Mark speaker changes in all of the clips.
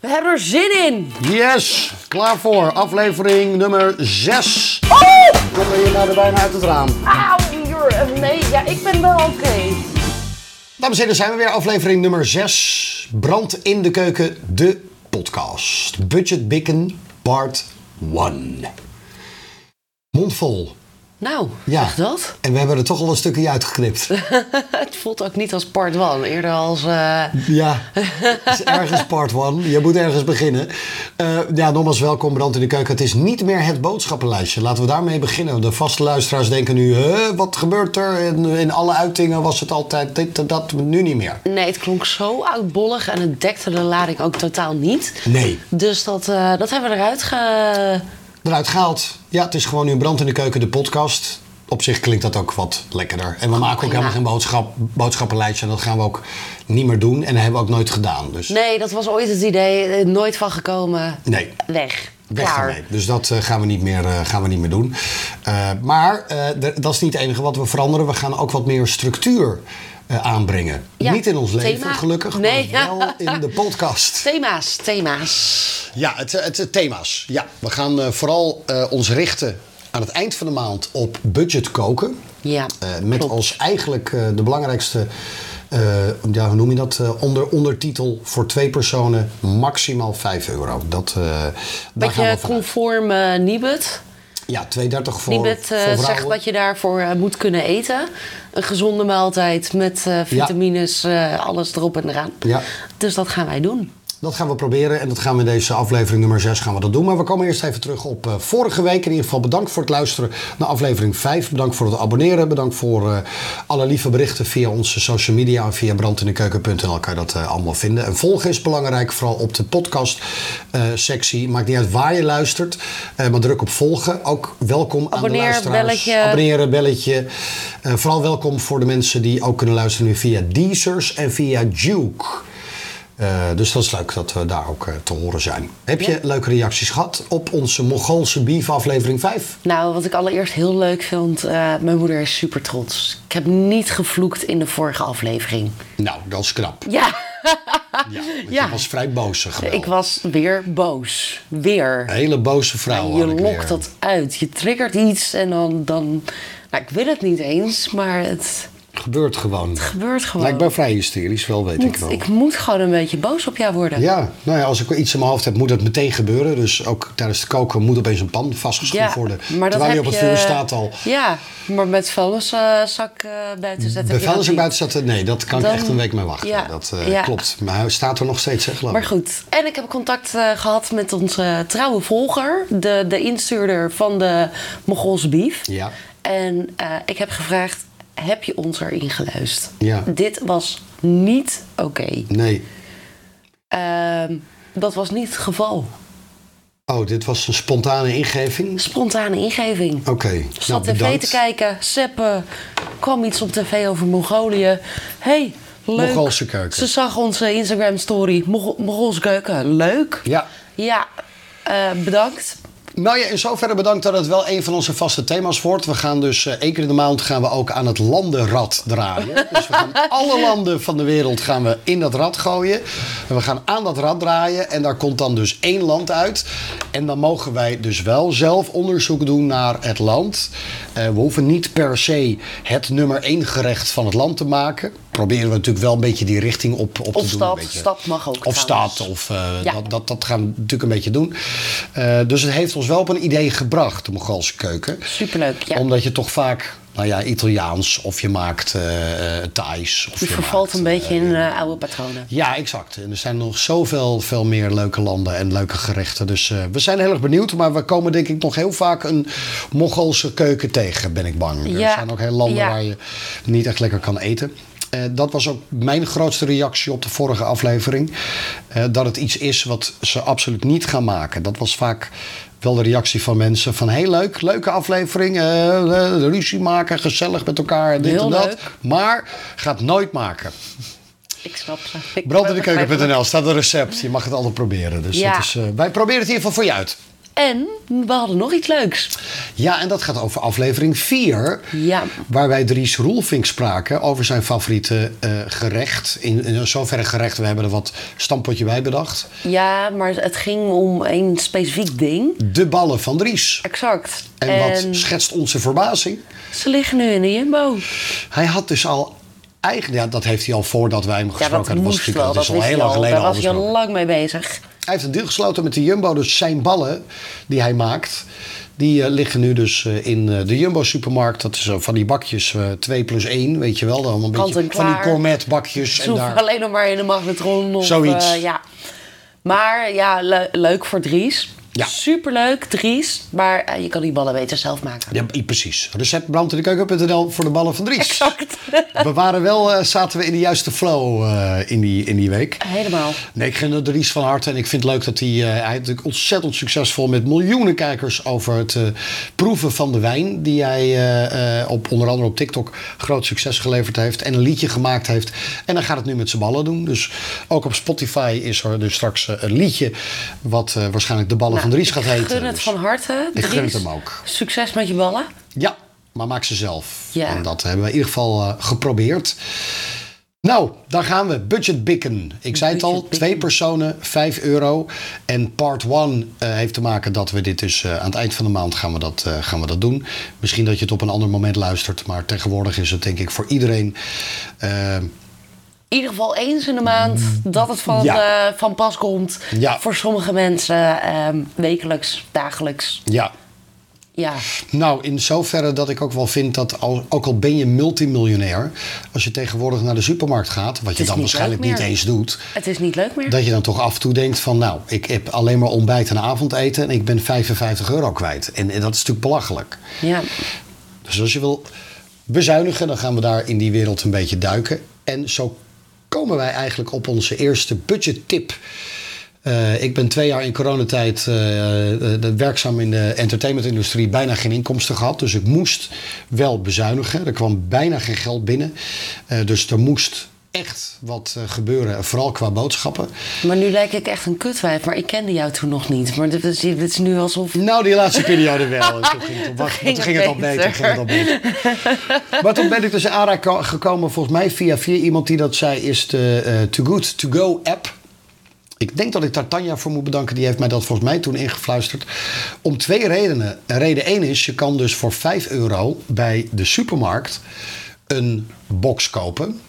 Speaker 1: We hebben er zin in!
Speaker 2: Yes, klaar voor aflevering nummer 6.
Speaker 1: Oh!
Speaker 2: Kom hier nou er bijna uit het raam.
Speaker 1: Auw, you're amazing! Ja, ik ben wel oké.
Speaker 2: Dames en heren, zijn we weer aflevering nummer 6. Brand in de keuken, de podcast. Budget Bikken, part 1. Mondvol.
Speaker 1: Nou,
Speaker 2: Ja.
Speaker 1: zeg dat.
Speaker 2: En we hebben er toch al een stukje uitgeknipt.
Speaker 1: Het voelt ook niet als part 1, eerder als... eh,
Speaker 2: Ja, het is ergens part one. Je moet ergens beginnen. Eh, ja, nogmaals welkom Brand in de Keuken. Het is niet meer het boodschappenlijstje. Laten we daarmee beginnen. De vaste luisteraars denken nu, "Huh, wat gebeurt er? In, in alle uitingen was het altijd dit en dat, nu niet meer.
Speaker 1: Nee, het klonk zo oudbollig en het dekte de lading ook totaal niet.
Speaker 2: Nee.
Speaker 1: Dus dat, eh, dat hebben we eruit ge...
Speaker 2: Eruit gehaald. Ja, het is gewoon nu Brand in de Keuken, de podcast. Op zich klinkt dat ook wat lekkerder. En we maken ook
Speaker 1: Oh, prima.
Speaker 2: helemaal geen boodschap, boodschappenlijstje. En dat gaan we ook niet meer doen. En dat hebben we ook nooit gedaan. Dus
Speaker 1: Nee, dat was ooit het idee. eh, Nooit van gekomen.
Speaker 2: nee.
Speaker 1: Weg.
Speaker 2: Weg
Speaker 1: Klaar.
Speaker 2: ermee. Dus dat eh, gaan, we niet meer, eh, gaan we niet meer doen. Eh, maar eh, d- dat is niet het enige wat we veranderen. We gaan ook wat meer structuur eh, aanbrengen.
Speaker 1: Ja,
Speaker 2: Niet in ons
Speaker 1: thema.
Speaker 2: leven, gelukkig,
Speaker 1: Nee.
Speaker 2: maar wel in de podcast.
Speaker 1: Thema's, thema's.
Speaker 2: Ja, het, het, het thema's. Ja, we gaan eh, vooral eh, ons richten aan het eind van de maand op budget koken.
Speaker 1: Ja,
Speaker 2: Eh, met
Speaker 1: klopt.
Speaker 2: als eigenlijk eh, de belangrijkste, eh, ja, hoe noem je dat, eh, onder, ondertitel voor twee personen maximaal 5 euro. Dat, eh daar gaan we
Speaker 1: Beetje
Speaker 2: vanuit.
Speaker 1: conform eh Nibud.
Speaker 2: Ja, 2,30 voor,
Speaker 1: Nibud
Speaker 2: voor
Speaker 1: eh,
Speaker 2: vrouwen.
Speaker 1: zegt wat je daarvoor eh, moet kunnen eten. Een gezonde maaltijd met eh, vitamines, eh, alles erop en eraan.
Speaker 2: Ja.
Speaker 1: Dus dat gaan wij doen.
Speaker 2: Dat gaan we proberen en dat gaan we in deze aflevering nummer 6 gaan we dat doen. Maar we komen eerst even terug op eh, vorige week. In ieder geval bedankt voor het luisteren naar aflevering 5. Bedankt voor het abonneren. Bedankt voor eh, alle lieve berichten via onze social media en via brandindekeuken.nl kan je dat eh, allemaal vinden. En volgen is belangrijk, vooral op de podcast eh, sectie. Maakt niet uit waar je luistert, eh, maar druk op volgen. Ook welkom aan de
Speaker 1: Abonneer,
Speaker 2: luisteraars.
Speaker 1: belletje.
Speaker 2: Abonneren, belletje. Eh, vooral welkom voor de mensen die ook kunnen luisteren nu via Deezers en via Duke. Eh, dus dat is leuk dat we daar ook eh, te horen zijn. Heb je leuke reacties gehad op onze Mongoolse beef aflevering 5?
Speaker 1: Nou, wat ik allereerst heel leuk vond, eh, mijn moeder is super trots. Ik heb niet gevloekt in de vorige aflevering.
Speaker 2: Nou, dat is knap.
Speaker 1: Ja,
Speaker 2: Ja,
Speaker 1: Ja.
Speaker 2: Ik was vrij boze geweld.
Speaker 1: ik was weer boos. Weer.
Speaker 2: Een hele boze vrouw
Speaker 1: je
Speaker 2: had ik weer.
Speaker 1: lokt dat uit. Je triggert iets en dan... dan nou, ik wil het niet eens, maar het
Speaker 2: Gebeurt gewoon.
Speaker 1: gebeurt gewoon.
Speaker 2: Nou, ik ben vrij hysterisch, wel weet ik wel.
Speaker 1: Ik moet gewoon een beetje boos op jou worden.
Speaker 2: Ja, nou ja, als ik iets in mijn hoofd heb, moet dat meteen gebeuren. Dus ook tijdens het koken moet opeens een pan vastgeschroefd
Speaker 1: Ja,
Speaker 2: worden.
Speaker 1: maar dat
Speaker 2: Terwijl die
Speaker 1: heb
Speaker 2: op het
Speaker 1: je-
Speaker 2: vuur staat al.
Speaker 1: Ja, maar met vuilniszak eh buiten zetten.
Speaker 2: De
Speaker 1: heb je dat
Speaker 2: vuilnis
Speaker 1: niet.
Speaker 2: buiten zetten, nee, dat kan
Speaker 1: Dan-
Speaker 2: ik echt een week mee wachten.
Speaker 1: ja,
Speaker 2: Dat eh,
Speaker 1: ja.
Speaker 2: klopt. Maar hij staat er nog steeds, hè, geloof ik.
Speaker 1: Maar goed, en ik heb contact eh, gehad met onze trouwe volger, de, de instuurder van de Mongoolse Bief.
Speaker 2: Ja.
Speaker 1: En eh, ik heb gevraagd, heb je ons erin geluisterd?
Speaker 2: Ja.
Speaker 1: Dit was niet oké.
Speaker 2: Nee.
Speaker 1: Ehm, dat was niet het geval.
Speaker 2: Oh, dit was een spontane ingeving?
Speaker 1: Spontane ingeving.
Speaker 2: Oké, nou
Speaker 1: Zat tv
Speaker 2: bedankt.
Speaker 1: te kijken, seppen, kwam iets op tv over Mongolië. hey, leuk.
Speaker 2: Mongoolse keuken.
Speaker 1: Ze zag onze Instagram-story, Mongo- Mongoolse keuken, leuk.
Speaker 2: Ja.
Speaker 1: Ja, eh, bedankt.
Speaker 2: Nou ja, in zoverre bedankt dat het wel een van onze vaste thema's wordt. We gaan dus eh, één keer in de maand gaan we ook aan het landenrad draaien. Dus we gaan alle landen van de wereld gaan we in dat rad gooien. En we gaan aan dat rad draaien en daar komt dan dus één land uit. En dan mogen wij dus wel zelf onderzoek doen naar het land. Eh, we hoeven niet per se het nummer één gerecht van het land te maken. Proberen we natuurlijk wel een beetje die richting op, op te
Speaker 1: Of
Speaker 2: doen.
Speaker 1: stad.
Speaker 2: een beetje.
Speaker 1: Stad mag ook
Speaker 2: Of
Speaker 1: trouwens.
Speaker 2: stad, of eh,
Speaker 1: Ja.
Speaker 2: dat, dat, dat gaan we natuurlijk een beetje doen. Eh, dus het heeft ons wel op een idee gebracht, de Mongoolse keuken.
Speaker 1: Superleuk, ja.
Speaker 2: Omdat je toch vaak, nou ja, Italiaans of je maakt eh eh, Thais. Of
Speaker 1: Je
Speaker 2: je
Speaker 1: vervalt
Speaker 2: maakt,
Speaker 1: een beetje
Speaker 2: eh,
Speaker 1: in eh, oude patronen.
Speaker 2: ja, exact. En er zijn nog zoveel veel meer leuke landen en leuke gerechten. Dus eh, we zijn heel erg benieuwd. Maar we komen denk ik nog heel vaak een Mongoolse keuken tegen, ben ik bang.
Speaker 1: Ja.
Speaker 2: Er zijn ook heel landen
Speaker 1: Ja.
Speaker 2: waar je niet echt lekker kan eten. Eh, dat was ook mijn grootste reactie op de vorige aflevering. Eh, dat het iets is wat ze absoluut niet gaan maken. Dat was vaak wel de reactie van mensen van... heel leuk, leuke aflevering, eh, eh, ruzie maken, gezellig met elkaar en dit
Speaker 1: Heel
Speaker 2: en dat.
Speaker 1: leuk.
Speaker 2: Maar gaat nooit maken.
Speaker 1: Ik snap ze. Ik
Speaker 2: Brandindekeuken.nl
Speaker 1: begrijp het.
Speaker 2: staat een recept. Je mag het altijd proberen. Dus
Speaker 1: Ja.
Speaker 2: dat is, eh, wij proberen het in ieder geval voor je uit.
Speaker 1: En we hadden nog iets leuks.
Speaker 2: Ja, en dat gaat over aflevering 4.
Speaker 1: Ja.
Speaker 2: Waar wij Dries Roelvink spraken over zijn favoriete eh, gerecht. In, in zoverre gerecht, we hebben er wat stampotje bij bedacht.
Speaker 1: Ja, maar het ging om een specifiek ding.
Speaker 2: De ballen van Dries.
Speaker 1: Exact.
Speaker 2: En, wat schetst onze verbazing?
Speaker 1: ze liggen nu in de Jumbo.
Speaker 2: Hij had dus al eigen... Ja, dat heeft hij al voordat wij hem
Speaker 1: Ja,
Speaker 2: gesproken
Speaker 1: dat
Speaker 2: hadden. was
Speaker 1: moest wel.
Speaker 2: natuurlijk-
Speaker 1: Dat
Speaker 2: is al
Speaker 1: wist
Speaker 2: heel
Speaker 1: je
Speaker 2: lang
Speaker 1: al.
Speaker 2: geleden
Speaker 1: Daar
Speaker 2: al
Speaker 1: was je al
Speaker 2: besproken.
Speaker 1: lang mee bezig.
Speaker 2: Hij heeft een deal gesloten met de Jumbo. Dus zijn ballen die hij maakt, die eh, liggen nu dus eh, in eh, de Jumbo supermarkt. Dat is zo van die bakjes eh 2 plus 1, weet je wel. Dan een
Speaker 1: Kant
Speaker 2: beetje
Speaker 1: en
Speaker 2: van die
Speaker 1: klaar.
Speaker 2: gourmet bakjes.
Speaker 1: Ze
Speaker 2: En
Speaker 1: hoeven
Speaker 2: daar.
Speaker 1: alleen nog maar in de magnetron of...
Speaker 2: Zoiets.
Speaker 1: eh, ja. Maar ja, le- leuk voor Dries.
Speaker 2: Ja.
Speaker 1: Superleuk, Dries. Maar eh, je kan die ballen beter zelf maken.
Speaker 2: Ja, i- precies. Recept brandindekeuken.nl voor de ballen van Dries.
Speaker 1: Exact.
Speaker 2: We waren wel, eh, zaten we in de juiste flow eh, in, die, in die week.
Speaker 1: Helemaal.
Speaker 2: Nee, ik gun Dries van harte en ik vind het leuk dat hij... eh, hij is natuurlijk ontzettend succesvol met miljoenen kijkers over het eh, proeven van de wijn. Die hij eh, eh, op, onder andere op TikTok groot succes geleverd heeft en een liedje gemaakt heeft. En dan gaat het nu met z'n ballen doen. Dus ook op Spotify is er dus straks eh, een liedje wat eh, waarschijnlijk de ballen
Speaker 1: Nou,
Speaker 2: van Dries
Speaker 1: ik
Speaker 2: gaat heten.
Speaker 1: gun het
Speaker 2: Dus
Speaker 1: van harte,
Speaker 2: Ik gun het
Speaker 1: Dries.
Speaker 2: hem ook.
Speaker 1: Succes met je ballen.
Speaker 2: Ja, maar maak ze zelf.
Speaker 1: Ja.
Speaker 2: En dat hebben we in ieder geval eh, geprobeerd. Nou, daar gaan we. Budget bikken. Ik zei het al,
Speaker 1: Budget bikken.
Speaker 2: twee personen, 5 euro. En part one eh, heeft te maken dat we dit dus eh, aan het eind van de maand gaan we, dat, eh, gaan we dat doen. Misschien dat je het op een ander moment luistert, maar tegenwoordig is het denk ik voor iedereen. eh,
Speaker 1: In ieder geval eens in de maand dat het van,
Speaker 2: Ja.
Speaker 1: eh, van pas komt.
Speaker 2: Ja.
Speaker 1: Voor sommige mensen ehm, wekelijks, dagelijks.
Speaker 2: ja,
Speaker 1: Ja,
Speaker 2: Nou, in zoverre dat ik ook wel vind dat, al, ook al ben je multimiljonair, als je tegenwoordig naar de supermarkt gaat, wat je
Speaker 1: is
Speaker 2: dan
Speaker 1: niet
Speaker 2: waarschijnlijk
Speaker 1: leuk
Speaker 2: niet
Speaker 1: meer.
Speaker 2: eens doet,
Speaker 1: het is niet leuk meer.
Speaker 2: dat je dan toch af en toe denkt van, nou, ik heb alleen maar ontbijt en avondeten en ik ben 55 euro kwijt. En, en dat is natuurlijk belachelijk.
Speaker 1: Ja.
Speaker 2: Dus als je wil bezuinigen, dan gaan we daar in die wereld een beetje duiken. En zo komen wij eigenlijk op onze eerste budgettip. Eh, ik ben twee jaar in coronatijd eh, eh, werkzaam in de entertainmentindustrie, bijna geen inkomsten gehad. Dus ik moest wel bezuinigen. Er kwam bijna geen geld binnen. Eh, dus er moest echt wat eh, gebeuren, vooral qua boodschappen.
Speaker 1: Maar nu lijk ik echt een kutwijf, maar ik kende jou toen nog niet. Maar dit is, dit is nu alsof...
Speaker 2: Nou, die laatste periode wel. En toen ging het, op, wacht,
Speaker 1: ging
Speaker 2: toen ging het al
Speaker 1: het beter.
Speaker 2: beter. Ging het al beter. maar toen ben ik dus in aanraking gekomen, volgens mij via, via iemand die dat zei, is de eh, To Good To Go app. Ik denk dat ik daar Tanja voor moet bedanken. Die heeft mij dat volgens mij toen ingefluisterd. Om twee redenen. En reden één is, je kan dus voor 5 euro bij de supermarkt een box kopen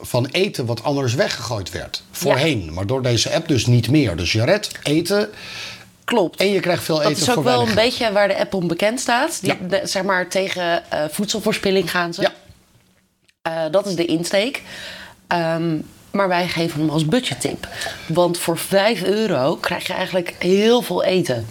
Speaker 2: van eten wat anders weggegooid werd. Voorheen, maar door deze app dus niet meer. Dus je redt eten
Speaker 1: Klopt.
Speaker 2: en je krijgt veel
Speaker 1: Dat
Speaker 2: eten
Speaker 1: is ook
Speaker 2: voor
Speaker 1: wel
Speaker 2: weinig
Speaker 1: een
Speaker 2: geld.
Speaker 1: beetje waar de app om bekend staat. Die,
Speaker 2: Ja.
Speaker 1: de- zeg maar tegen eh, voedselverspilling gaan ze.
Speaker 2: Ja.
Speaker 1: Eh, dat is de insteek. Ehm, maar wij geven hem als budgettip. Want voor 5 euro krijg je eigenlijk heel veel eten.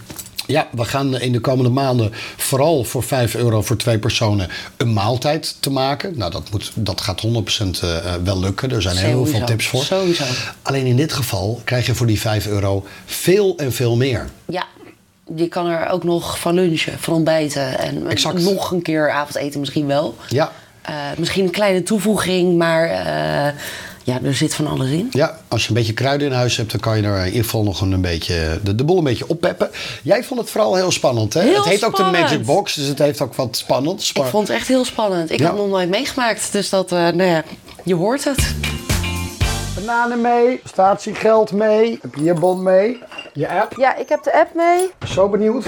Speaker 2: Ja, we gaan in de komende maanden vooral voor 5 euro voor twee personen een maaltijd te maken. Nou, dat, moet, dat gaat 100% eh, eh, wel lukken. Er zijn heel
Speaker 1: Sowieso,
Speaker 2: veel tips voor.
Speaker 1: sowieso.
Speaker 2: Alleen in dit geval krijg je voor die 5 euro veel en veel meer.
Speaker 1: Ja, je kan er ook nog van lunchen, van ontbijten. En
Speaker 2: Exact.
Speaker 1: nog een keer avondeten misschien wel.
Speaker 2: Ja,
Speaker 1: Eh, misschien een kleine toevoeging, maar eh, ja, er zit van alles in.
Speaker 2: ja, als je een beetje kruiden in huis hebt, dan kan je er in ieder geval nog een beetje, de, de boel een beetje oppeppen. Jij vond het vooral heel spannend, hè?
Speaker 1: Heel
Speaker 2: het heet ook de
Speaker 1: spannend.
Speaker 2: Magic Box, dus het heeft ook wat spannends.
Speaker 1: Ik
Speaker 2: maar-
Speaker 1: vond het echt heel spannend. Ik
Speaker 2: Ja.
Speaker 1: had nog nooit meegemaakt, dus dat, eh, nou ja, je hoort het.
Speaker 2: Bananen mee, statiegeld mee, heb je je bon mee, je app.
Speaker 1: Ja, ik heb de app mee.
Speaker 2: Zo benieuwd.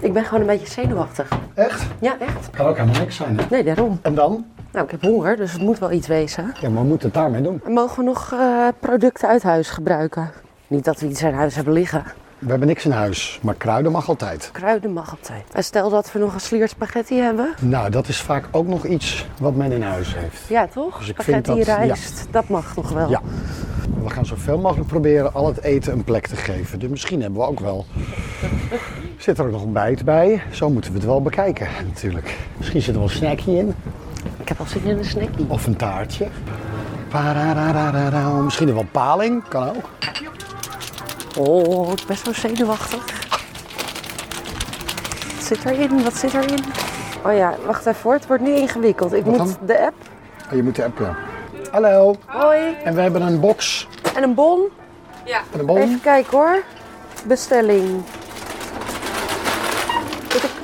Speaker 1: Ik ben gewoon een beetje zenuwachtig.
Speaker 2: Echt?
Speaker 1: Ja, echt.
Speaker 2: Kan ook helemaal niks zijn, hè?
Speaker 1: Nee, daarom.
Speaker 2: En dan?
Speaker 1: Nou, ik heb honger, dus het moet wel iets wezen.
Speaker 2: Ja, maar we moeten het daarmee doen.
Speaker 1: Mogen we nog eh, producten uit huis gebruiken? Niet dat we iets in huis hebben liggen.
Speaker 2: We hebben niks in huis, maar kruiden mag altijd.
Speaker 1: Kruiden mag altijd. En stel dat we nog een slier spaghetti hebben.
Speaker 2: Nou, dat is vaak ook nog iets wat men in huis heeft.
Speaker 1: Ja, toch?
Speaker 2: Dus ik vind
Speaker 1: spaghetti,
Speaker 2: dat-
Speaker 1: rijst. Dat mag nog wel.
Speaker 2: Ja. We gaan zoveel mogelijk proberen al het eten een plek te geven. Dus misschien hebben we ook wel... Zit er ook nog ontbijt bij? Zo moeten we het wel bekijken, natuurlijk. Misschien zit er wel een snackje in.
Speaker 1: Ik heb al zin in een snackie.
Speaker 2: Of een taartje. Pararararara. Misschien wel paling, kan ook.
Speaker 1: Oh, ik ben zo zenuwachtig. Wat zit erin? Wat zit erin? Oh ja, wacht even hoor. Het wordt nu ingewikkeld. Ik moet
Speaker 2: dan?
Speaker 1: de app.
Speaker 2: Oh, je moet de app, ja. Hallo.
Speaker 1: Hoi.
Speaker 2: En we hebben een box.
Speaker 1: En een bon.
Speaker 2: Een bon.
Speaker 1: Even kijken hoor. Bestelling.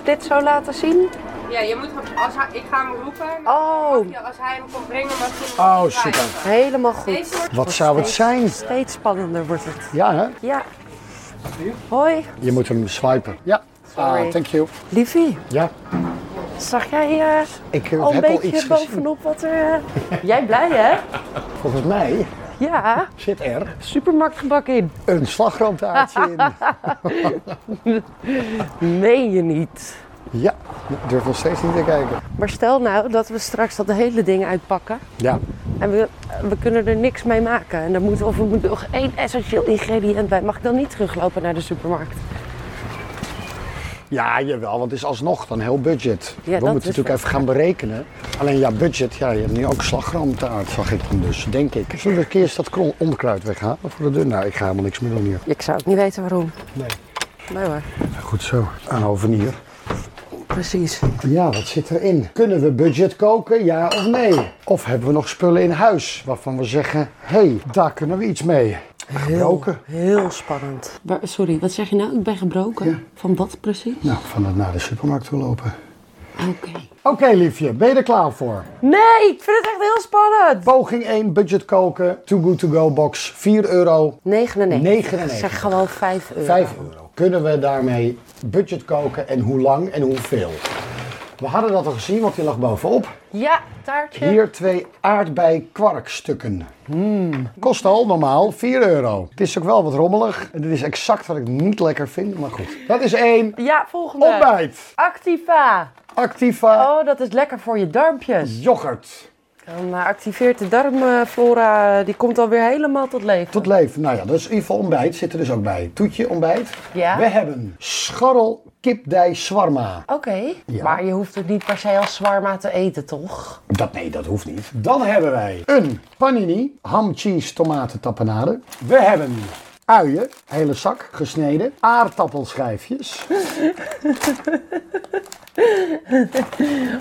Speaker 1: dit zo laten zien?
Speaker 3: Ja, je moet hem, als hij, ik ga hem roepen. maar
Speaker 1: Oh,
Speaker 3: ja, als hij hem komt brengen, mag je hem
Speaker 2: Oh,
Speaker 3: nog krijgen.
Speaker 2: super.
Speaker 1: helemaal goed.
Speaker 3: Deze wordt
Speaker 2: Wat zou het
Speaker 1: Steeds-
Speaker 2: zijn?
Speaker 1: Steeds spannender wordt het.
Speaker 2: Ja, hè?
Speaker 1: Ja. Hoi,
Speaker 2: Je moet hem swipen. Ja.
Speaker 1: Sorry.
Speaker 2: Ah, thank you.
Speaker 1: liefie.
Speaker 2: Ja.
Speaker 1: Zag jij eh
Speaker 2: Ik eh,
Speaker 1: al een
Speaker 2: heb al iets
Speaker 1: beetje
Speaker 2: gezien.
Speaker 1: bovenop wat er... eh, Jij blij, hè?
Speaker 2: Volgens mij
Speaker 1: Ja,
Speaker 2: zit er
Speaker 1: supermarktgebak in.
Speaker 2: een slagroomtaartje in.
Speaker 1: Meen je niet.
Speaker 2: Ja, ik durf nog steeds niet te kijken.
Speaker 1: Maar stel nou dat we straks dat hele ding uitpakken.
Speaker 2: Ja.
Speaker 1: En we, we kunnen er niks mee maken. En dan moeten, of we moeten nog één essentieel ingrediënt bij. Mag ik dan niet teruglopen naar de supermarkt?
Speaker 2: Ja, jawel, want het is alsnog dan heel budget. We
Speaker 1: dat
Speaker 2: moeten
Speaker 1: is
Speaker 2: natuurlijk
Speaker 1: waar.
Speaker 2: even gaan berekenen. Alleen ja, budget, ja, je hebt nu ook slagroomtaart, zag ik dan dus, denk ik. Zullen we eerst dat kron- onkruid weghalen voor de deur? Nou, ik ga helemaal niks meer doen hier.
Speaker 1: Ik zou het niet weten waarom.
Speaker 2: Nee.
Speaker 1: Nee hoor,
Speaker 2: Ja, goed zo, aanhoven hier.
Speaker 1: precies.
Speaker 2: Ja, wat zit erin? Kunnen we budget koken, ja of nee? Of hebben we nog spullen in huis waarvan we zeggen, hé, hey, daar kunnen we iets mee. Gebroken.
Speaker 1: Heel spannend. sorry, wat zeg je nou? Ik ben gebroken. Van wat precies?
Speaker 2: Nou, van het naar de supermarkt toe lopen.
Speaker 1: Oké.
Speaker 2: Oké, liefje, ben je er klaar voor?
Speaker 1: Nee, ik vind het echt heel spannend.
Speaker 2: Poging 1, budget koken, Too Good To Go box, 4 euro,
Speaker 1: 99.
Speaker 2: 99.
Speaker 1: Zeg gewoon 5 euro.
Speaker 2: 5 euro. Kunnen we daarmee budget koken en hoe lang en hoeveel? We hadden dat al gezien, want die lag bovenop.
Speaker 1: Ja, taartje.
Speaker 2: Hier twee aardbei-kwarkstukken. Kost al normaal 4 euro. Het is ook wel wat rommelig. En dit is exact wat ik niet lekker vind, maar goed. Dat is één.
Speaker 1: Ja, volgende.
Speaker 2: Ontbijt.
Speaker 1: Activa.
Speaker 2: Activa
Speaker 1: Oh, dat is lekker voor je darmpjes.
Speaker 2: yoghurt.
Speaker 1: Dan eh, activeert de darmflora, eh, die komt alweer helemaal tot leven.
Speaker 2: Tot leven. Nou ja, dat is in ieder geval ontbijt. Zit er dus ook bij. Toetje ontbijt.
Speaker 1: Ja.
Speaker 2: We hebben scharrel kipdij swarma.
Speaker 1: Oké, maar je hoeft het niet per se als zwarma te eten, toch?
Speaker 2: Dat nee, dat hoeft niet. Dan hebben wij een panini, ham, cheese, tomaten, tapenade. We hebben uien, hele zak, gesneden. Aardappelschijfjes.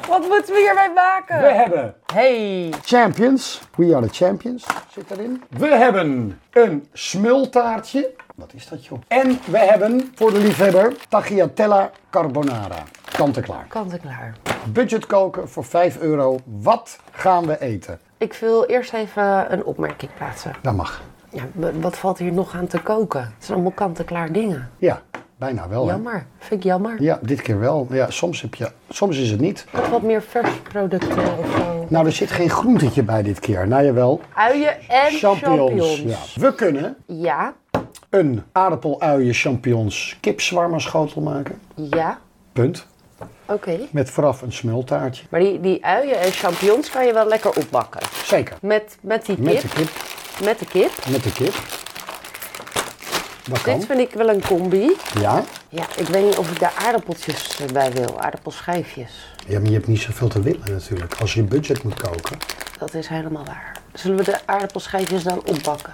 Speaker 1: Wat moeten we hierbij maken?
Speaker 2: We hebben
Speaker 1: Hey,
Speaker 2: champions, we are the champions, zit erin. We hebben een smultaartje. Wat is dat joh? En we hebben, voor de liefhebber, tagliatella carbonara. Kant en klaar.
Speaker 1: kant en klaar.
Speaker 2: Budget koken voor 5 euro. Wat gaan we eten?
Speaker 1: Ik wil eerst even een opmerking plaatsen.
Speaker 2: Dat mag.
Speaker 1: Ja, w- wat valt hier nog aan te koken? Het zijn allemaal kant-en-klaar dingen.
Speaker 2: Ja, bijna wel. hè?
Speaker 1: Jammer, vind ik jammer.
Speaker 2: Ja, dit keer wel. Ja, soms, heb je, soms is het niet.
Speaker 1: Ik had wat meer vers producten of zo.
Speaker 2: Nou, er zit geen groentetje bij dit keer. Nou jawel.
Speaker 1: Uien en champignons.
Speaker 2: Ja. We kunnen
Speaker 1: Ja,
Speaker 2: een aardappeluien champignons kipzwarma schotel maken.
Speaker 1: ja,
Speaker 2: Punt.
Speaker 1: oké.
Speaker 2: Met vooraf een smultaartje.
Speaker 1: Maar die, die uien en champignons kan je wel lekker opbakken.
Speaker 2: Zeker.
Speaker 1: Met, met die kip.
Speaker 2: Met de kip.
Speaker 1: Met de kip.
Speaker 2: Met de kip. Dat kan.
Speaker 1: Dit vind ik wel een combi.
Speaker 2: Ja.
Speaker 1: Ja, ik weet niet of ik daar aardappeltjes eh, bij wil. Aardappelschijfjes.
Speaker 2: Ja, maar je hebt niet zoveel te willen natuurlijk. Als je budget moet koken.
Speaker 1: Dat is helemaal waar. Zullen we de aardappelschijfjes dan opbakken?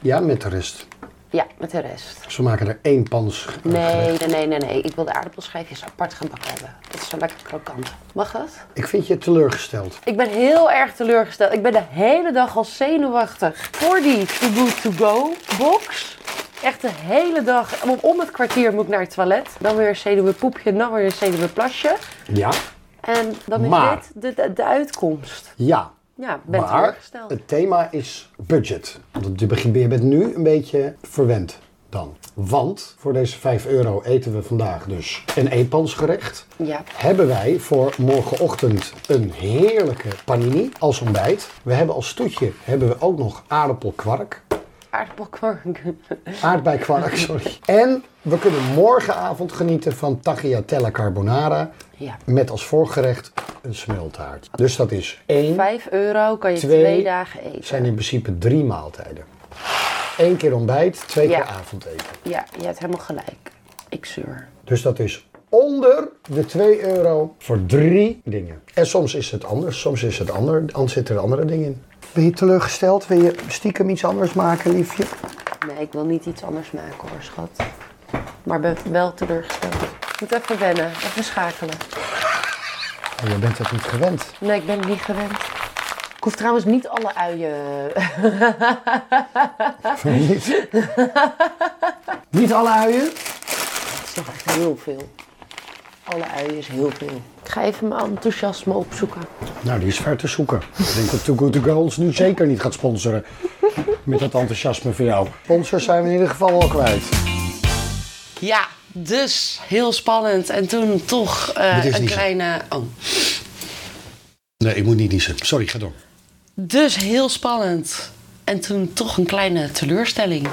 Speaker 2: Ja, met de rest.
Speaker 1: Ja, met de rest.
Speaker 2: Ze maken er één pans eh, gerecht.
Speaker 1: Nee, nee, nee, nee, nee. Ik wil de aardappelschijfjes apart gebakken hebben. Dat is zo lekker krokant. Mag dat?
Speaker 2: Ik vind je teleurgesteld.
Speaker 1: Ik ben heel erg teleurgesteld. Ik ben de hele dag al zenuwachtig voor die Too Good To Go box. Echt de hele dag. Om, om het kwartier moet ik naar het toilet. Dan weer een zenuwpoepje, dan weer een zenuwplasje.
Speaker 2: Ja.
Speaker 1: En dan is
Speaker 2: Maar-
Speaker 1: dit de, de, de uitkomst.
Speaker 2: Ja.
Speaker 1: Ja, ik ben
Speaker 2: maar
Speaker 1: teleurgesteld.
Speaker 2: het thema is budget. Want je begint- je bent nu een beetje verwend dan. Want voor deze 5 euro eten we vandaag dus een eetpansgerecht.
Speaker 1: Ja.
Speaker 2: Hebben wij voor morgenochtend een heerlijke panini als ontbijt. We hebben als toetje hebben we ook nog aardappelkwark.
Speaker 1: Aardappelkwark.
Speaker 2: Aardbeikwark, sorry. En we kunnen morgenavond genieten van tagliatella carbonara.
Speaker 1: Ja.
Speaker 2: Met als voorgerecht een smeltaart. Dus dat is 1,
Speaker 1: Vijf euro kan je twee,
Speaker 2: Twee
Speaker 1: dagen eten.
Speaker 2: zijn in principe drie maaltijden. Eén keer ontbijt, twee
Speaker 1: Ja.
Speaker 2: keer avondeten.
Speaker 1: Ja, je hebt helemaal gelijk. Ik zeur.
Speaker 2: Dus dat is onder de 2 euro voor drie dingen. En soms is het anders, soms is het ander, anders zitten er andere dingen in. Ben je teleurgesteld? Wil je stiekem iets anders maken, liefje?
Speaker 1: Nee, ik wil niet iets anders maken hoor, schat. Maar ben wel teleurgesteld. Ik moet even wennen, even schakelen.
Speaker 2: Oh, je bent het niet gewend.
Speaker 1: Nee, ik ben het niet gewend. Ik hoef trouwens niet alle uien.
Speaker 2: niet? niet alle uien?
Speaker 1: Het is toch echt heel veel.
Speaker 3: Alle uien is heel veel. Ik ga even mijn enthousiasme opzoeken.
Speaker 4: Nou, die is ver te zoeken. Ik denk dat Too Good To Go ons nu zeker niet gaat sponsoren. Met dat enthousiasme van jou. Sponsors zijn we in ieder geval al kwijt.
Speaker 1: Ja, dus heel spannend. En toen toch eh,
Speaker 2: Moet even
Speaker 1: een
Speaker 2: niezen.
Speaker 1: kleine... Oh.
Speaker 2: Nee, ik moet niet niezen. Sorry, ga door.
Speaker 1: Dus heel spannend. En toen toch een kleine teleurstelling.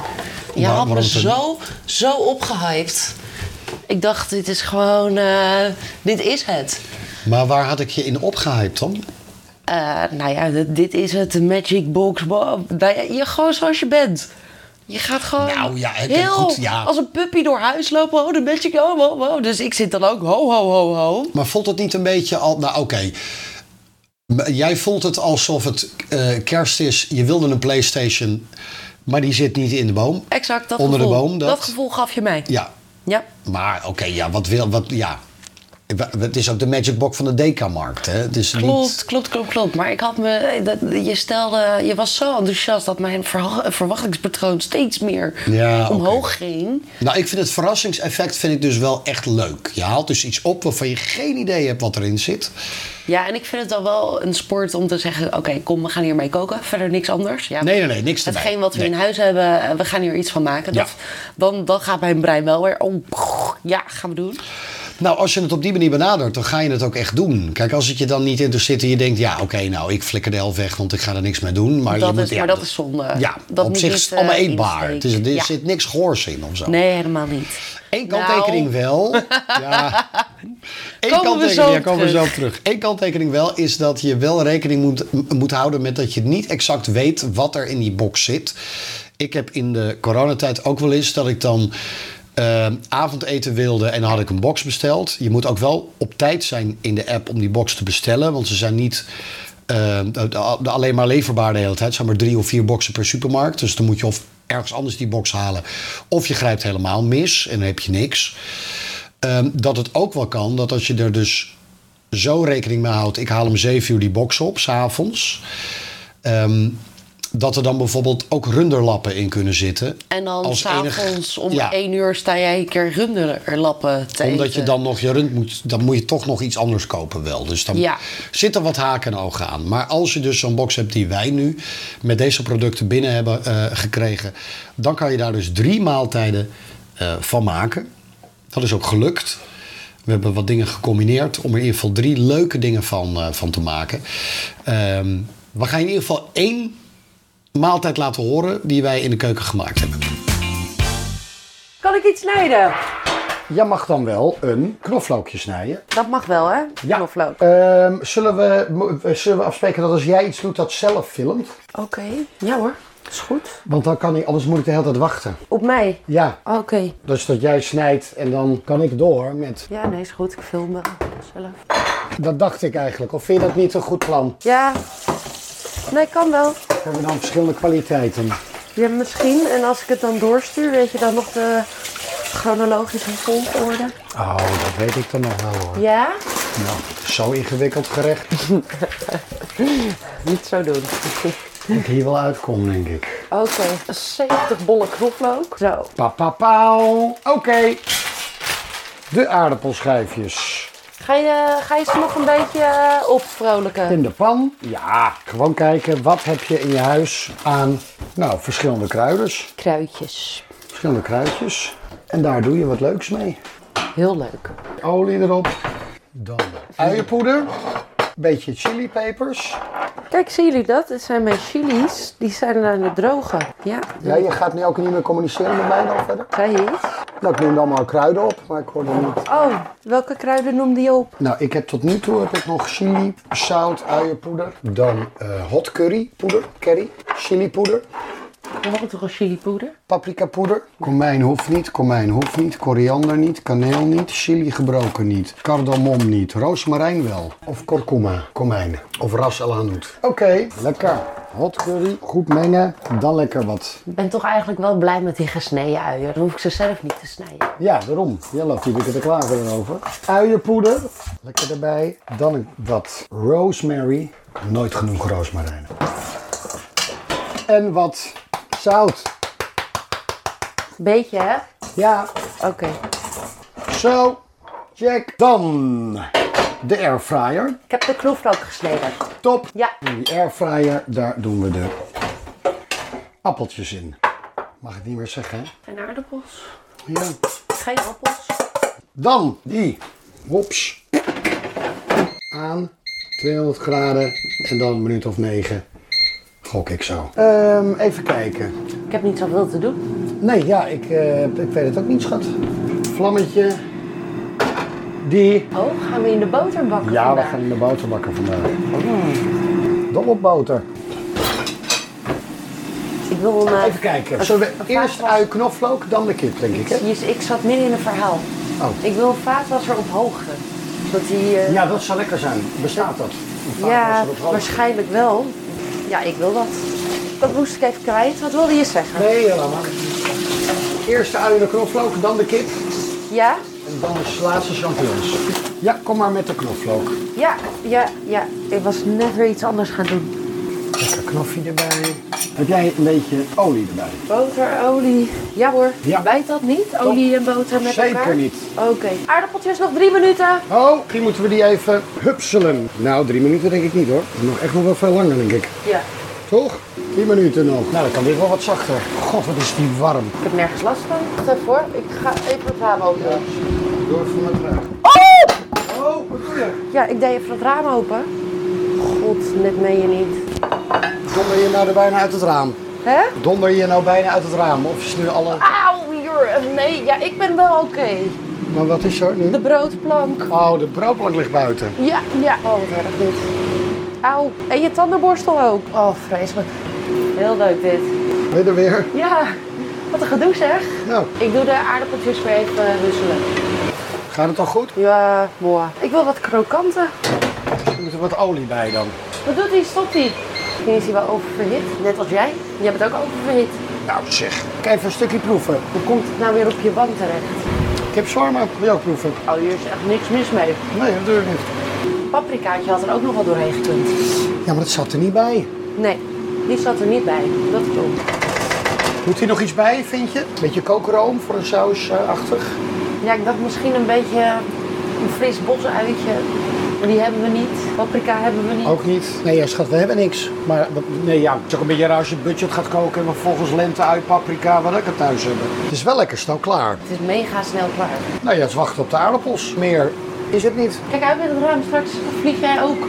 Speaker 1: Je
Speaker 2: Waar-
Speaker 1: had me
Speaker 2: waarom toen?
Speaker 1: zo, zo opgehyped. Ik dacht, dit is gewoon... eh, dit is het.
Speaker 2: Maar waar had ik je in opgehyped dan?
Speaker 1: Eh, nou ja, dit, dit is het. de Magic Box. Wow. Nou ja, je gewoon zoals je bent. Je gaat gewoon
Speaker 2: Nou ja, ik-
Speaker 1: heel
Speaker 2: goed, ja.
Speaker 1: als een puppy door huis lopen. Oh, de Magic, oh, wow, wow. Dus ik zit dan ook ho, ho, ho, ho.
Speaker 2: Maar vond het niet een beetje al... Nou, oké. Maar Jij vond het alsof het eh, kerst is. Je wilde een Playstation, maar die zit niet in de boom.
Speaker 1: Exact, dat
Speaker 2: Onder de
Speaker 1: gevoel.
Speaker 2: boom, dat-
Speaker 1: gevoel gaf je mij.
Speaker 2: Ja,
Speaker 1: Ja.
Speaker 2: maar oké, ja, wat wil... Wat, ja. Het is ook de Magic Box van de Deka-markt, hè? Het is niet...
Speaker 1: Klopt, klopt, klopt, klopt. Maar ik had me, eh, dat, je stelde, je was zo enthousiast dat mijn verha- eh, verwachtingspatroon steeds meer
Speaker 2: Ja, oké.
Speaker 1: omhoog ging.
Speaker 2: Nou, ik vind het verrassingseffect vind ik dus wel echt leuk. Je haalt dus iets op waarvan je geen idee hebt wat erin zit.
Speaker 1: Ja, en ik vind het dan wel een sport om te zeggen, oké, kom, we gaan hiermee koken. Verder niks anders. Ja,
Speaker 2: Nee, nee, nee, niks erbij.
Speaker 1: Hetgeen wat we
Speaker 2: Nee.
Speaker 1: in huis hebben, eh, we gaan hier iets van maken.
Speaker 2: Ja.
Speaker 1: Dat, dan, dan gaat mijn brein wel weer, oh, pff, ja, gaan we doen.
Speaker 2: Nou, als je het op die manier benadert, dan ga je het ook echt doen. Kijk, als het je dan niet interesseert en je denkt... ja, oké, nou, ik flikker de helft weg, want ik ga er niks mee doen. Maar,
Speaker 1: Dat
Speaker 2: je moet,
Speaker 1: is-
Speaker 2: ja,
Speaker 1: maar dat is zonde.
Speaker 2: Ja,
Speaker 1: Dat
Speaker 2: op
Speaker 1: moet
Speaker 2: zich
Speaker 1: niet,
Speaker 2: is het allemaal
Speaker 1: eh,
Speaker 2: eetbaar. Het is, er
Speaker 1: insteken. Ja.
Speaker 2: zit niks goors in of zo.
Speaker 1: Nee, Nou. helemaal niet.
Speaker 2: Eén kanttekening wel. Ja. Eén
Speaker 1: Komen we zo
Speaker 2: kanttekening, ja,
Speaker 1: op
Speaker 2: komen we zo
Speaker 1: terug.
Speaker 2: op terug. Eén kanttekening wel is dat je wel rekening moet, m- moet houden met dat je niet exact weet wat er in die box zit. Ik heb in de coronatijd ook wel eens dat ik dan eh, avondeten wilde en dan had ik een box besteld. Je moet ook wel op tijd zijn in de app om die box te bestellen, want ze zijn niet. eh, de- de- alleen maar leverbaar de hele tijd. Het zijn maar drie of vier boxen per supermarkt. Dus dan moet je of ergens anders die box halen. Of je grijpt helemaal mis en dan heb je niks. Ehm, dat het ook wel kan dat als je er dus zo rekening mee houdt. Ik haal om 7 uur die box op, s'avonds. Ehm dat er dan bijvoorbeeld ook runderlappen in kunnen zitten.
Speaker 1: En dan
Speaker 2: Als
Speaker 1: s'avonds
Speaker 2: enig-
Speaker 1: om
Speaker 2: ja,
Speaker 1: één uur sta jij een keer runderlappen te
Speaker 2: Omdat
Speaker 1: eten.
Speaker 2: je dan nog je rund moet, dan moet je toch nog iets anders kopen wel. Dus dan
Speaker 1: Ja.
Speaker 2: zitten wat haken en ogen aan. Maar als je dus zo'n box hebt die wij nu met deze producten binnen hebben eh, gekregen, dan kan je daar dus drie maaltijden eh, van maken. Dat is ook gelukt. We hebben wat dingen gecombineerd om er in ieder geval drie leuke dingen van, eh, van te maken. Ehm, we gaan in ieder geval één maaltijd laten horen die wij in de keuken gemaakt hebben.
Speaker 3: Kan ik iets snijden?
Speaker 4: Jij mag dan wel een knoflookje snijden.
Speaker 3: Dat mag wel, hè? Knoflook.
Speaker 4: Ehm, zullen, we, mo- zullen we afspreken dat als jij iets doet dat zelf filmt?
Speaker 3: Oké. Ja hoor, is goed.
Speaker 4: Want dan kan ik, anders moet ik de hele tijd wachten.
Speaker 3: Op mij?
Speaker 4: Ja,
Speaker 3: Oké.
Speaker 4: dus dat jij snijdt en dan kan ik door met...
Speaker 3: Ja, nee, is goed. Ik film wel zelf.
Speaker 4: Dat dacht ik eigenlijk. Of vind je dat niet een goed plan?
Speaker 3: Ja. Nee, kan wel.
Speaker 4: We hebben dan verschillende kwaliteiten.
Speaker 3: Ja, misschien. En als ik het dan doorstuur, weet je dan nog de chronologische volgorde?
Speaker 4: Oh, dat weet ik dan nog wel hoor.
Speaker 3: Ja?
Speaker 4: Nou, zo ingewikkeld gerecht
Speaker 3: Niet zo doen.
Speaker 4: dat ik hier wel uitkom, denk ik.
Speaker 3: Oké, 70 bollen knoflook. Zo.
Speaker 4: Papapauw. Oké. De aardappelschijfjes.
Speaker 3: Ga je, ga je ze nog een beetje eh, opvrolijken?
Speaker 4: In de pan. Ja, gewoon kijken wat heb je in je huis aan nou, verschillende kruiders.
Speaker 3: Kruidjes.
Speaker 4: Verschillende kruidjes. En daar doe je wat leuks mee.
Speaker 3: Heel leuk.
Speaker 4: Olie erop. Dan uienpoeder. Beetje chilipepers.
Speaker 3: Kijk, zien jullie dat? Dit zijn mijn chilies. Die zijn aan het drogen. Ja,
Speaker 4: Ja, je gaat nu ook niet meer communiceren met mij dan verder.
Speaker 3: zei je iets?
Speaker 4: Nou, ik neem allemaal kruiden op, maar ik hoorde niet.
Speaker 3: Oh, welke kruiden noemde je op?
Speaker 4: Nou, ik heb tot nu toe heb ik nog chili, zout, uienpoeder. Dan eh, hot curry poeder, curry, chili poeder,
Speaker 3: We hadden toch al chilipoeder?
Speaker 4: paprika poeder. Komijn hoeft niet, komijn hoeft niet, koriander niet, kaneel niet, chili gebroken niet, cardamom niet, roosmarijn wel. Of kurkuma, komijn. Of ras el hanout. Oké, lekker. Hot curry, goed mengen, dan lekker wat.
Speaker 3: Ik ben toch eigenlijk wel blij met die gesneden uien. Dan hoef ik ze zelf niet te snijden.
Speaker 4: Ja, daarom. Jelle had hier te klagen over. Uienpoeder, lekker erbij. Dan een- wat rosemary. Nooit genoeg roosmarijn. En wat zout.
Speaker 3: Beetje, hè?
Speaker 4: Ja,
Speaker 3: Oké.
Speaker 4: zo. Check. Dan de airfryer.
Speaker 3: Ik heb de knoflook gesneden.
Speaker 4: Top.
Speaker 3: Ja.
Speaker 4: In die airfryer, daar doen we de appeltjes in. Mag ik niet meer zeggen, hè?
Speaker 3: En aardappels.
Speaker 4: Ja.
Speaker 3: Geen appels.
Speaker 4: Dan die. Hops. Aan. 200 graden. En dan een minuut of 9. Gok ik zo. Ehm, even kijken.
Speaker 3: Ik heb niet zoveel te doen.
Speaker 4: Nee, ja, ik, eh, ik weet het ook niet, schat. Vlammetje. Die.
Speaker 3: Oh, gaan we in de boter bakken
Speaker 4: Ja, we
Speaker 3: vandaag?
Speaker 4: gaan in de boter bakken vandaag. De opboter.
Speaker 3: Ik wil een... eh,
Speaker 4: Even kijken.
Speaker 3: een-
Speaker 4: Zullen
Speaker 3: een
Speaker 4: we eerst
Speaker 3: vaatwasser-
Speaker 4: ui knoflook, dan de kip, denk ik, hè?
Speaker 3: Je- Ik zat midden in een verhaal.
Speaker 4: Oh.
Speaker 3: Ik wil een vaatwasser op hoogte. Zodat die... eh,
Speaker 4: Ja, dat zou lekker zijn. Bestaat dat? Een
Speaker 3: Ja,
Speaker 4: vaatwasser op hoogte.
Speaker 3: waarschijnlijk wel. Ja, ik wil dat. Dat moest ik even kwijt. Wat wilde je zeggen?
Speaker 4: Nee, helemaal niet. Eerst de ui en de knoflook, dan de kip.
Speaker 3: Ja?
Speaker 4: En dan de laatste champignons. Ja, kom maar met de knoflook.
Speaker 3: Ja, ja, ja. Ik was net weer iets anders gaan doen.
Speaker 4: Lekker knoffie erbij. Heb jij een beetje olie erbij?
Speaker 3: Boter, olie. Ja hoor.
Speaker 4: Ja.
Speaker 3: Bijt dat niet? Olie en boter met
Speaker 4: Zeker
Speaker 3: elkaar?
Speaker 4: niet.
Speaker 3: Oké. Aardappeltjes nog drie minuten.
Speaker 4: Oh, die moeten we die even hupselen. Nou, drie minuten denk ik niet hoor. Nog echt nog wel veel langer denk ik.
Speaker 3: Ja.
Speaker 4: Toch? Tien minuten nog. Nou, dan kan dit wel wat zachter. God, wat is die warm.
Speaker 3: Ik heb nergens last van. Wacht even hoor. Ik ga even het raam open. doen.
Speaker 4: Door van het raam. Oh! Oh, wat doe je?
Speaker 3: Ja, ik deed even het raam open. God, net meen je niet.
Speaker 4: Donder je nou er bijna uit het raam?
Speaker 3: Hè?
Speaker 4: Donder je nou bijna uit het raam? Of is nu alle...
Speaker 3: Auw, hier. Nee, ja, ik ben wel oké.
Speaker 4: Maar wat is er nu?
Speaker 3: De broodplank.
Speaker 4: Oh, de broodplank ligt buiten.
Speaker 3: Ja, ja. Oh, wat erg dit. Auw. En je tandenborstel ook. Oh, vreselijk. Heel leuk dit.
Speaker 4: Ben je er weer?
Speaker 3: Ja, wat een gedoe zeg.
Speaker 4: Nou,
Speaker 3: Ik doe de aardappeltjes weer even eh, wisselen.
Speaker 4: gaat het al goed?
Speaker 3: Ja, mooi. Ik wil wat krokanten.
Speaker 4: Er moet er wat olie bij dan.
Speaker 3: Wat doet hij? Stopt hij? Misschien is hij wel oververhit. Net als jij. Jij bent ook oververhit.
Speaker 4: Nou zeg. Kijk even een stukje proeven.
Speaker 3: Hoe komt het nou weer op je wang terecht?
Speaker 4: Ik heb shawarma. Wil je ook proeven?
Speaker 3: Oh, hier is echt niks mis mee.
Speaker 4: Nee, natuurlijk niet.
Speaker 3: Paprikaatje had er ook nog wel doorheen gekund.
Speaker 4: Ja, maar dat zat er niet bij.
Speaker 3: Nee, die zat er niet bij. Dat klopt.
Speaker 4: Moet hier nog iets bij, vind je? Beetje kookroom voor een sausachtig.
Speaker 3: Ja, ik dacht misschien een beetje een fris bosuitje. Maar die hebben we niet. Paprika hebben we niet.
Speaker 4: Ook niet. Nee, ja, schat, we hebben niks. Maar wat- nee, ja, het is ook een beetje raar als je budget gaat koken en dan volgens lente uit paprika wat lekker thuis hebben. Het is wel lekker snel klaar.
Speaker 3: Het is mega snel klaar.
Speaker 4: Nou ja, het is wachten op de aardappels. Meer is het niet.
Speaker 3: Kijk uit met het raam, straks vlieg jij ook.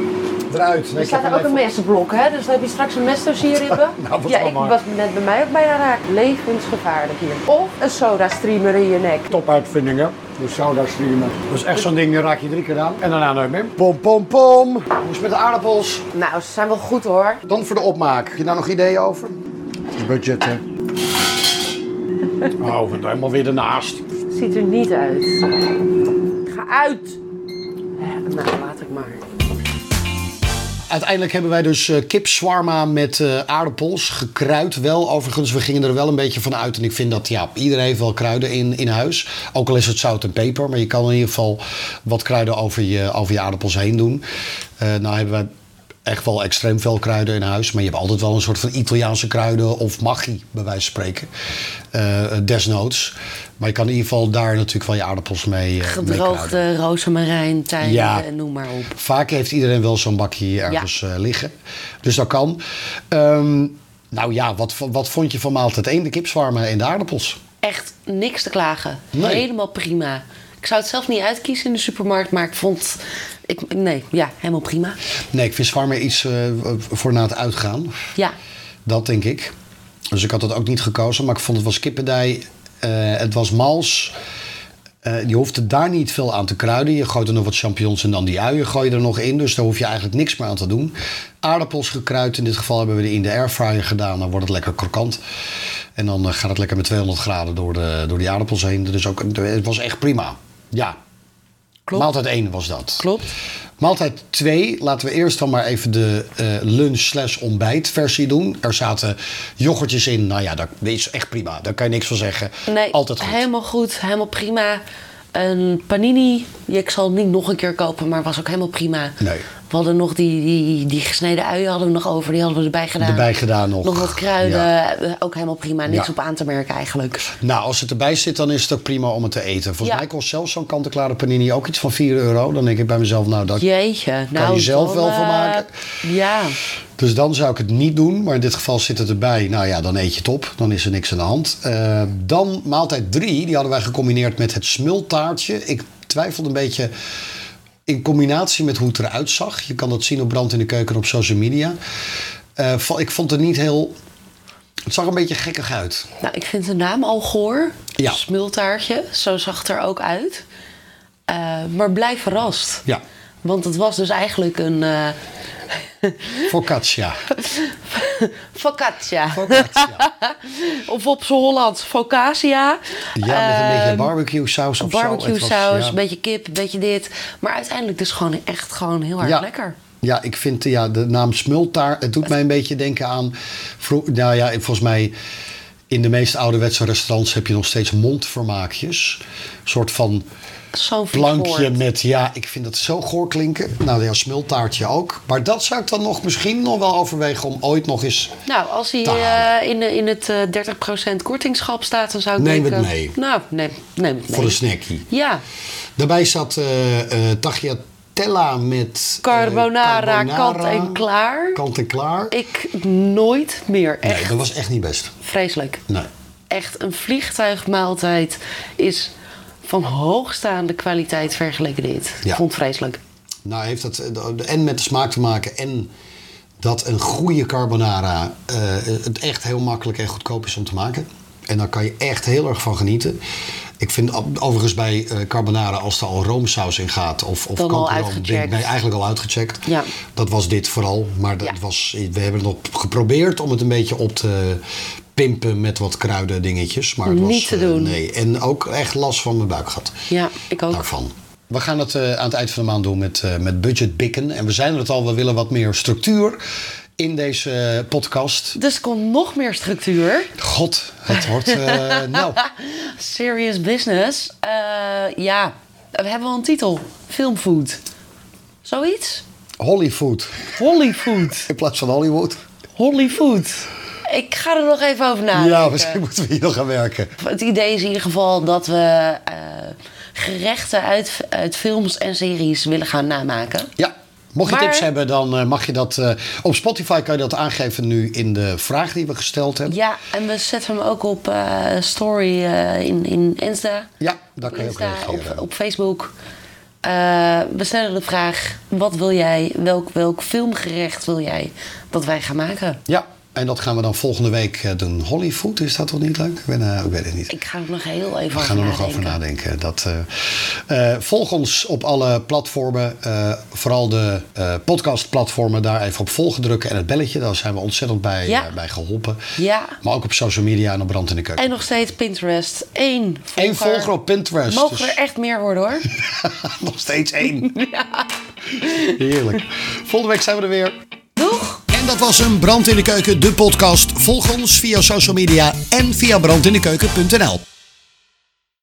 Speaker 4: Eruit. Nee,
Speaker 3: Er
Speaker 4: ik heb
Speaker 3: staat
Speaker 4: hem
Speaker 3: ook een
Speaker 4: even-
Speaker 3: messenblok, hè? Dus dan heb je straks een mes tussen je ribben.
Speaker 4: Nou, wat
Speaker 3: ja,
Speaker 4: dan
Speaker 3: ik
Speaker 4: maar.
Speaker 3: was net bij mij ook bijna raak. Levensgevaarlijk hier. Of een soda streamer in je nek.
Speaker 4: topuitvindingen. De soda Dus streamen. Dat is echt zo'n ding, daar raak je drie keer aan. En daarna nooit meer. Pom, pom, pom. Hoe is het met de aardappels?
Speaker 3: Nou, ze zijn wel goed hoor.
Speaker 4: Dan voor de opmaak. Heb je daar nog ideeën over? Budget, hè? Oh, we helemaal weer ernaast.
Speaker 3: Ziet er niet uit. Ga uit! Ja, Nou, laat ik maar.
Speaker 2: Uiteindelijk hebben wij dus eh kip shawarma met eh, aardappels. Gekruid wel, overigens. We gingen er wel een beetje van uit. En ik vind dat, ja, iedereen heeft wel kruiden in, in huis. Ook al is het zout en peper. Maar je kan in ieder geval wat kruiden over je, over je aardappels heen doen. Eh nou hebben wij echt wel extreem veel kruiden in huis. Maar je hebt altijd wel een soort van Italiaanse kruiden of maggi, bij wijze van spreken. Eh, desnoods. Maar je kan in ieder geval daar natuurlijk wel je aardappels mee, eh, mee kruiden.
Speaker 1: Gedroogde rozemarijn, tijm,
Speaker 2: Ja.
Speaker 1: en eh, noem maar op.
Speaker 2: Vaak heeft iedereen wel zo'n bakje ergens eh, liggen. Dus dat kan. Ehm, nou ja, wat, v- wat vond je van maaltijd 1? De kipswarmen en de aardappels.
Speaker 1: Echt niks te klagen.
Speaker 2: Nee.
Speaker 1: Helemaal prima. Ik zou het zelf niet uitkiezen in de supermarkt, maar ik vond... Ik, nee, ja, helemaal prima.
Speaker 2: Nee, ik vind zwarmen iets eh, voor na het uitgaan.
Speaker 1: Ja,
Speaker 2: Dat denk ik. Dus ik had dat ook niet gekozen. Maar ik vond het was kippendij. eh, het was mals. Eh, je hoeft er daar niet veel aan te kruiden. Je gooit er nog wat champignons en dan die uien gooi je er nog in. Dus daar hoef je eigenlijk niks meer aan te doen. Aardappels gekruid. In dit geval hebben we die in de airfryer gedaan. Dan wordt het lekker krokant. En dan eh, gaat het lekker met 200 graden door, de, door die aardappels heen. Dus ook, het was echt prima. Ja.
Speaker 1: Klopt.
Speaker 2: Maaltijd 1 was dat.
Speaker 1: klopt.
Speaker 2: Maaltijd 2, laten we eerst dan maar even de eh, lunch slash ontbijt versie doen. Er zaten yoghurtjes in. Nou ja, dat is echt prima. Daar kan je niks van zeggen.
Speaker 1: Nee,
Speaker 2: Altijd goed.
Speaker 1: helemaal goed, helemaal prima. Een panini, Ja, ik zal het niet nog een keer kopen, maar was ook helemaal prima.
Speaker 2: Nee.
Speaker 1: We hadden nog die, die, die gesneden uien hadden we nog over. Die hadden we erbij gedaan.
Speaker 2: Erbij gedaan nog.
Speaker 1: Nog wat kruiden.
Speaker 2: Ja.
Speaker 1: eh, Ook helemaal prima. Niks
Speaker 2: Ja.
Speaker 1: op aan te merken eigenlijk.
Speaker 2: Nou, als het erbij zit, dan is het ook prima om het te eten. Volgens
Speaker 1: Ja.
Speaker 2: mij kost zelfs zo'n kant-en-klare panini ook iets van 4 euro. Dan denk ik bij mezelf, nou, dat...
Speaker 1: Jeetje. Kan nou,
Speaker 2: je zelf
Speaker 1: dan,
Speaker 2: wel van
Speaker 1: eh,
Speaker 2: maken.
Speaker 1: Ja.
Speaker 2: Dus dan zou ik het niet doen. Maar in dit geval zit het erbij. Nou ja, dan eet je het op. Dan is er niks aan de hand. Eh, dan maaltijd 3. Die hadden wij gecombineerd met het smultaartje. Ik twijfelde een beetje in combinatie met hoe het eruit zag. Je kan dat zien op Brand in de Keuken op social media. Eh, va- ik vond het niet heel... Het zag een beetje gekkig uit.
Speaker 1: Nou, ik vind de naam al goor.
Speaker 2: Ja.
Speaker 1: Smultaartje. Zo zag het er ook uit. Eh, maar blijf verrast.
Speaker 2: Ja,
Speaker 1: Want het was dus eigenlijk een eh
Speaker 2: focaccia.
Speaker 1: focaccia.
Speaker 2: Focaccia.
Speaker 1: Of op zijn Hollands, focaccia.
Speaker 2: Ja, met een
Speaker 1: Ehm,
Speaker 2: beetje barbecue saus of zo.
Speaker 1: barbecue
Speaker 2: Het was,
Speaker 1: saus,
Speaker 2: ja.
Speaker 1: een beetje kip, een beetje dit. Maar uiteindelijk dus gewoon echt gewoon heel erg
Speaker 2: Ja.
Speaker 1: lekker.
Speaker 2: Ja, ik vind eh, ja, de naam smultaart, het doet mij een beetje denken aan... vro- Nou ja, ik- volgens mij in de meest ouderwetse restaurants heb je nog steeds mondvermaakjes. Een soort van
Speaker 1: Zo'n vies
Speaker 2: plankje
Speaker 1: woord.
Speaker 2: met, ja, ik vind dat zo goor klinken. Nou ja, smultaartje ook. Maar dat zou ik dan nog misschien nog wel overwegen om ooit nog eens...
Speaker 1: Nou, als hij
Speaker 2: Taal.
Speaker 1: eh, in, de- in het eh 30% kortingschap staat, dan zou ik
Speaker 2: Neem het
Speaker 1: denken...
Speaker 2: mee.
Speaker 1: Nou, neem, neem het mee.
Speaker 2: Voor een snackie.
Speaker 1: Ja,
Speaker 2: Daarbij zat eh eh tagliatella met... eh,
Speaker 1: carbonara, kant en klaar.
Speaker 2: Kant en klaar.
Speaker 1: Ik nooit meer, echt
Speaker 2: Nee, dat was echt niet best.
Speaker 1: vreselijk.
Speaker 2: Nee.
Speaker 1: Echt een vliegtuigmaaltijd is van hoogstaande kwaliteit vergeleken dit.
Speaker 2: Ja.
Speaker 1: Ik vond het vreselijk.
Speaker 2: Nou heeft dat eh, en met de smaak te maken en dat een goede carbonara eh, het echt heel makkelijk en goedkoop is om te maken. En daar kan je echt heel erg van genieten. Ik vind o- overigens bij eh, carbonara, als er al roomsaus in gaat of, of
Speaker 1: Dan al
Speaker 2: kamperroom, ben ik
Speaker 1: uitgecheckt.
Speaker 2: ben je eigenlijk al uitgecheckt.
Speaker 1: Ja.
Speaker 2: Dat was dit vooral. Maar dat
Speaker 1: Ja.
Speaker 2: was, we hebben het nog geprobeerd om het een beetje op te pimpen met wat kruiden dingetjes. Maar het was,
Speaker 1: Niet te
Speaker 2: eh,
Speaker 1: doen.
Speaker 2: nee. En ook echt last van mijn buik gehad
Speaker 1: Ja, ik ook.
Speaker 2: daarvan. We gaan het eh, aan het eind van de maand doen met, eh, met budget bikken. En we zijn er het al, we willen wat meer structuur in deze eh, podcast.
Speaker 1: Dus er komt nog meer structuur.
Speaker 2: God, het wordt... eh, nou,
Speaker 1: Serious business. Eh, ja, we hebben wel een titel. Filmfood. Zoiets?
Speaker 2: Hollywood.
Speaker 1: Hollyfood.
Speaker 2: In plaats van Hollywood.
Speaker 1: Hollyfood. Ik ga er nog even over nadenken.
Speaker 2: ja, misschien moeten we hier nog gaan werken.
Speaker 1: Het idee is in ieder geval dat we eh, gerechten uit, uit films en series willen gaan namaken.
Speaker 2: Ja. Mocht je
Speaker 1: Maar-
Speaker 2: tips hebben, dan eh, mag je dat... eh, op Spotify kan je dat aangeven nu in de vraag die we gesteld hebben.
Speaker 1: Ja, en we zetten hem ook op eh, story eh, in, in Insta.
Speaker 2: Ja, daar kan je ook
Speaker 1: Insta,
Speaker 2: reageren.
Speaker 1: op, op Facebook. Eh, we stellen de vraag: wat wil jij, welk, welk filmgerecht wil jij dat wij gaan maken?
Speaker 2: Ja, en dat gaan we dan volgende week eh, doen. Hollywood, is dat toch niet leuk? Ik, ben, eh, ik weet het niet.
Speaker 1: Ik ga er nog heel even
Speaker 2: We
Speaker 1: over
Speaker 2: gaan er nog
Speaker 1: nadenken.
Speaker 2: over nadenken. Dat, eh, eh, volg ons op alle platformen. eh, vooral de eh, podcastplatformen. Daar even op volgen drukken. En het belletje. Daar zijn we ontzettend bij,
Speaker 1: Ja.
Speaker 2: eh, bij geholpen.
Speaker 1: Ja.
Speaker 2: Maar ook op social media en op Brand in de Keuken.
Speaker 1: En nog steeds Pinterest. Eén volger.
Speaker 2: Eén volger op Pinterest.
Speaker 1: Mogen
Speaker 2: Dus
Speaker 1: er echt meer worden hoor.
Speaker 2: nog steeds één. Heerlijk. Volgende week zijn we er weer.
Speaker 1: Doeg!
Speaker 2: En dat was een Brand in de Keuken, de podcast. Volg ons via social media en via brandindekeuken.nl.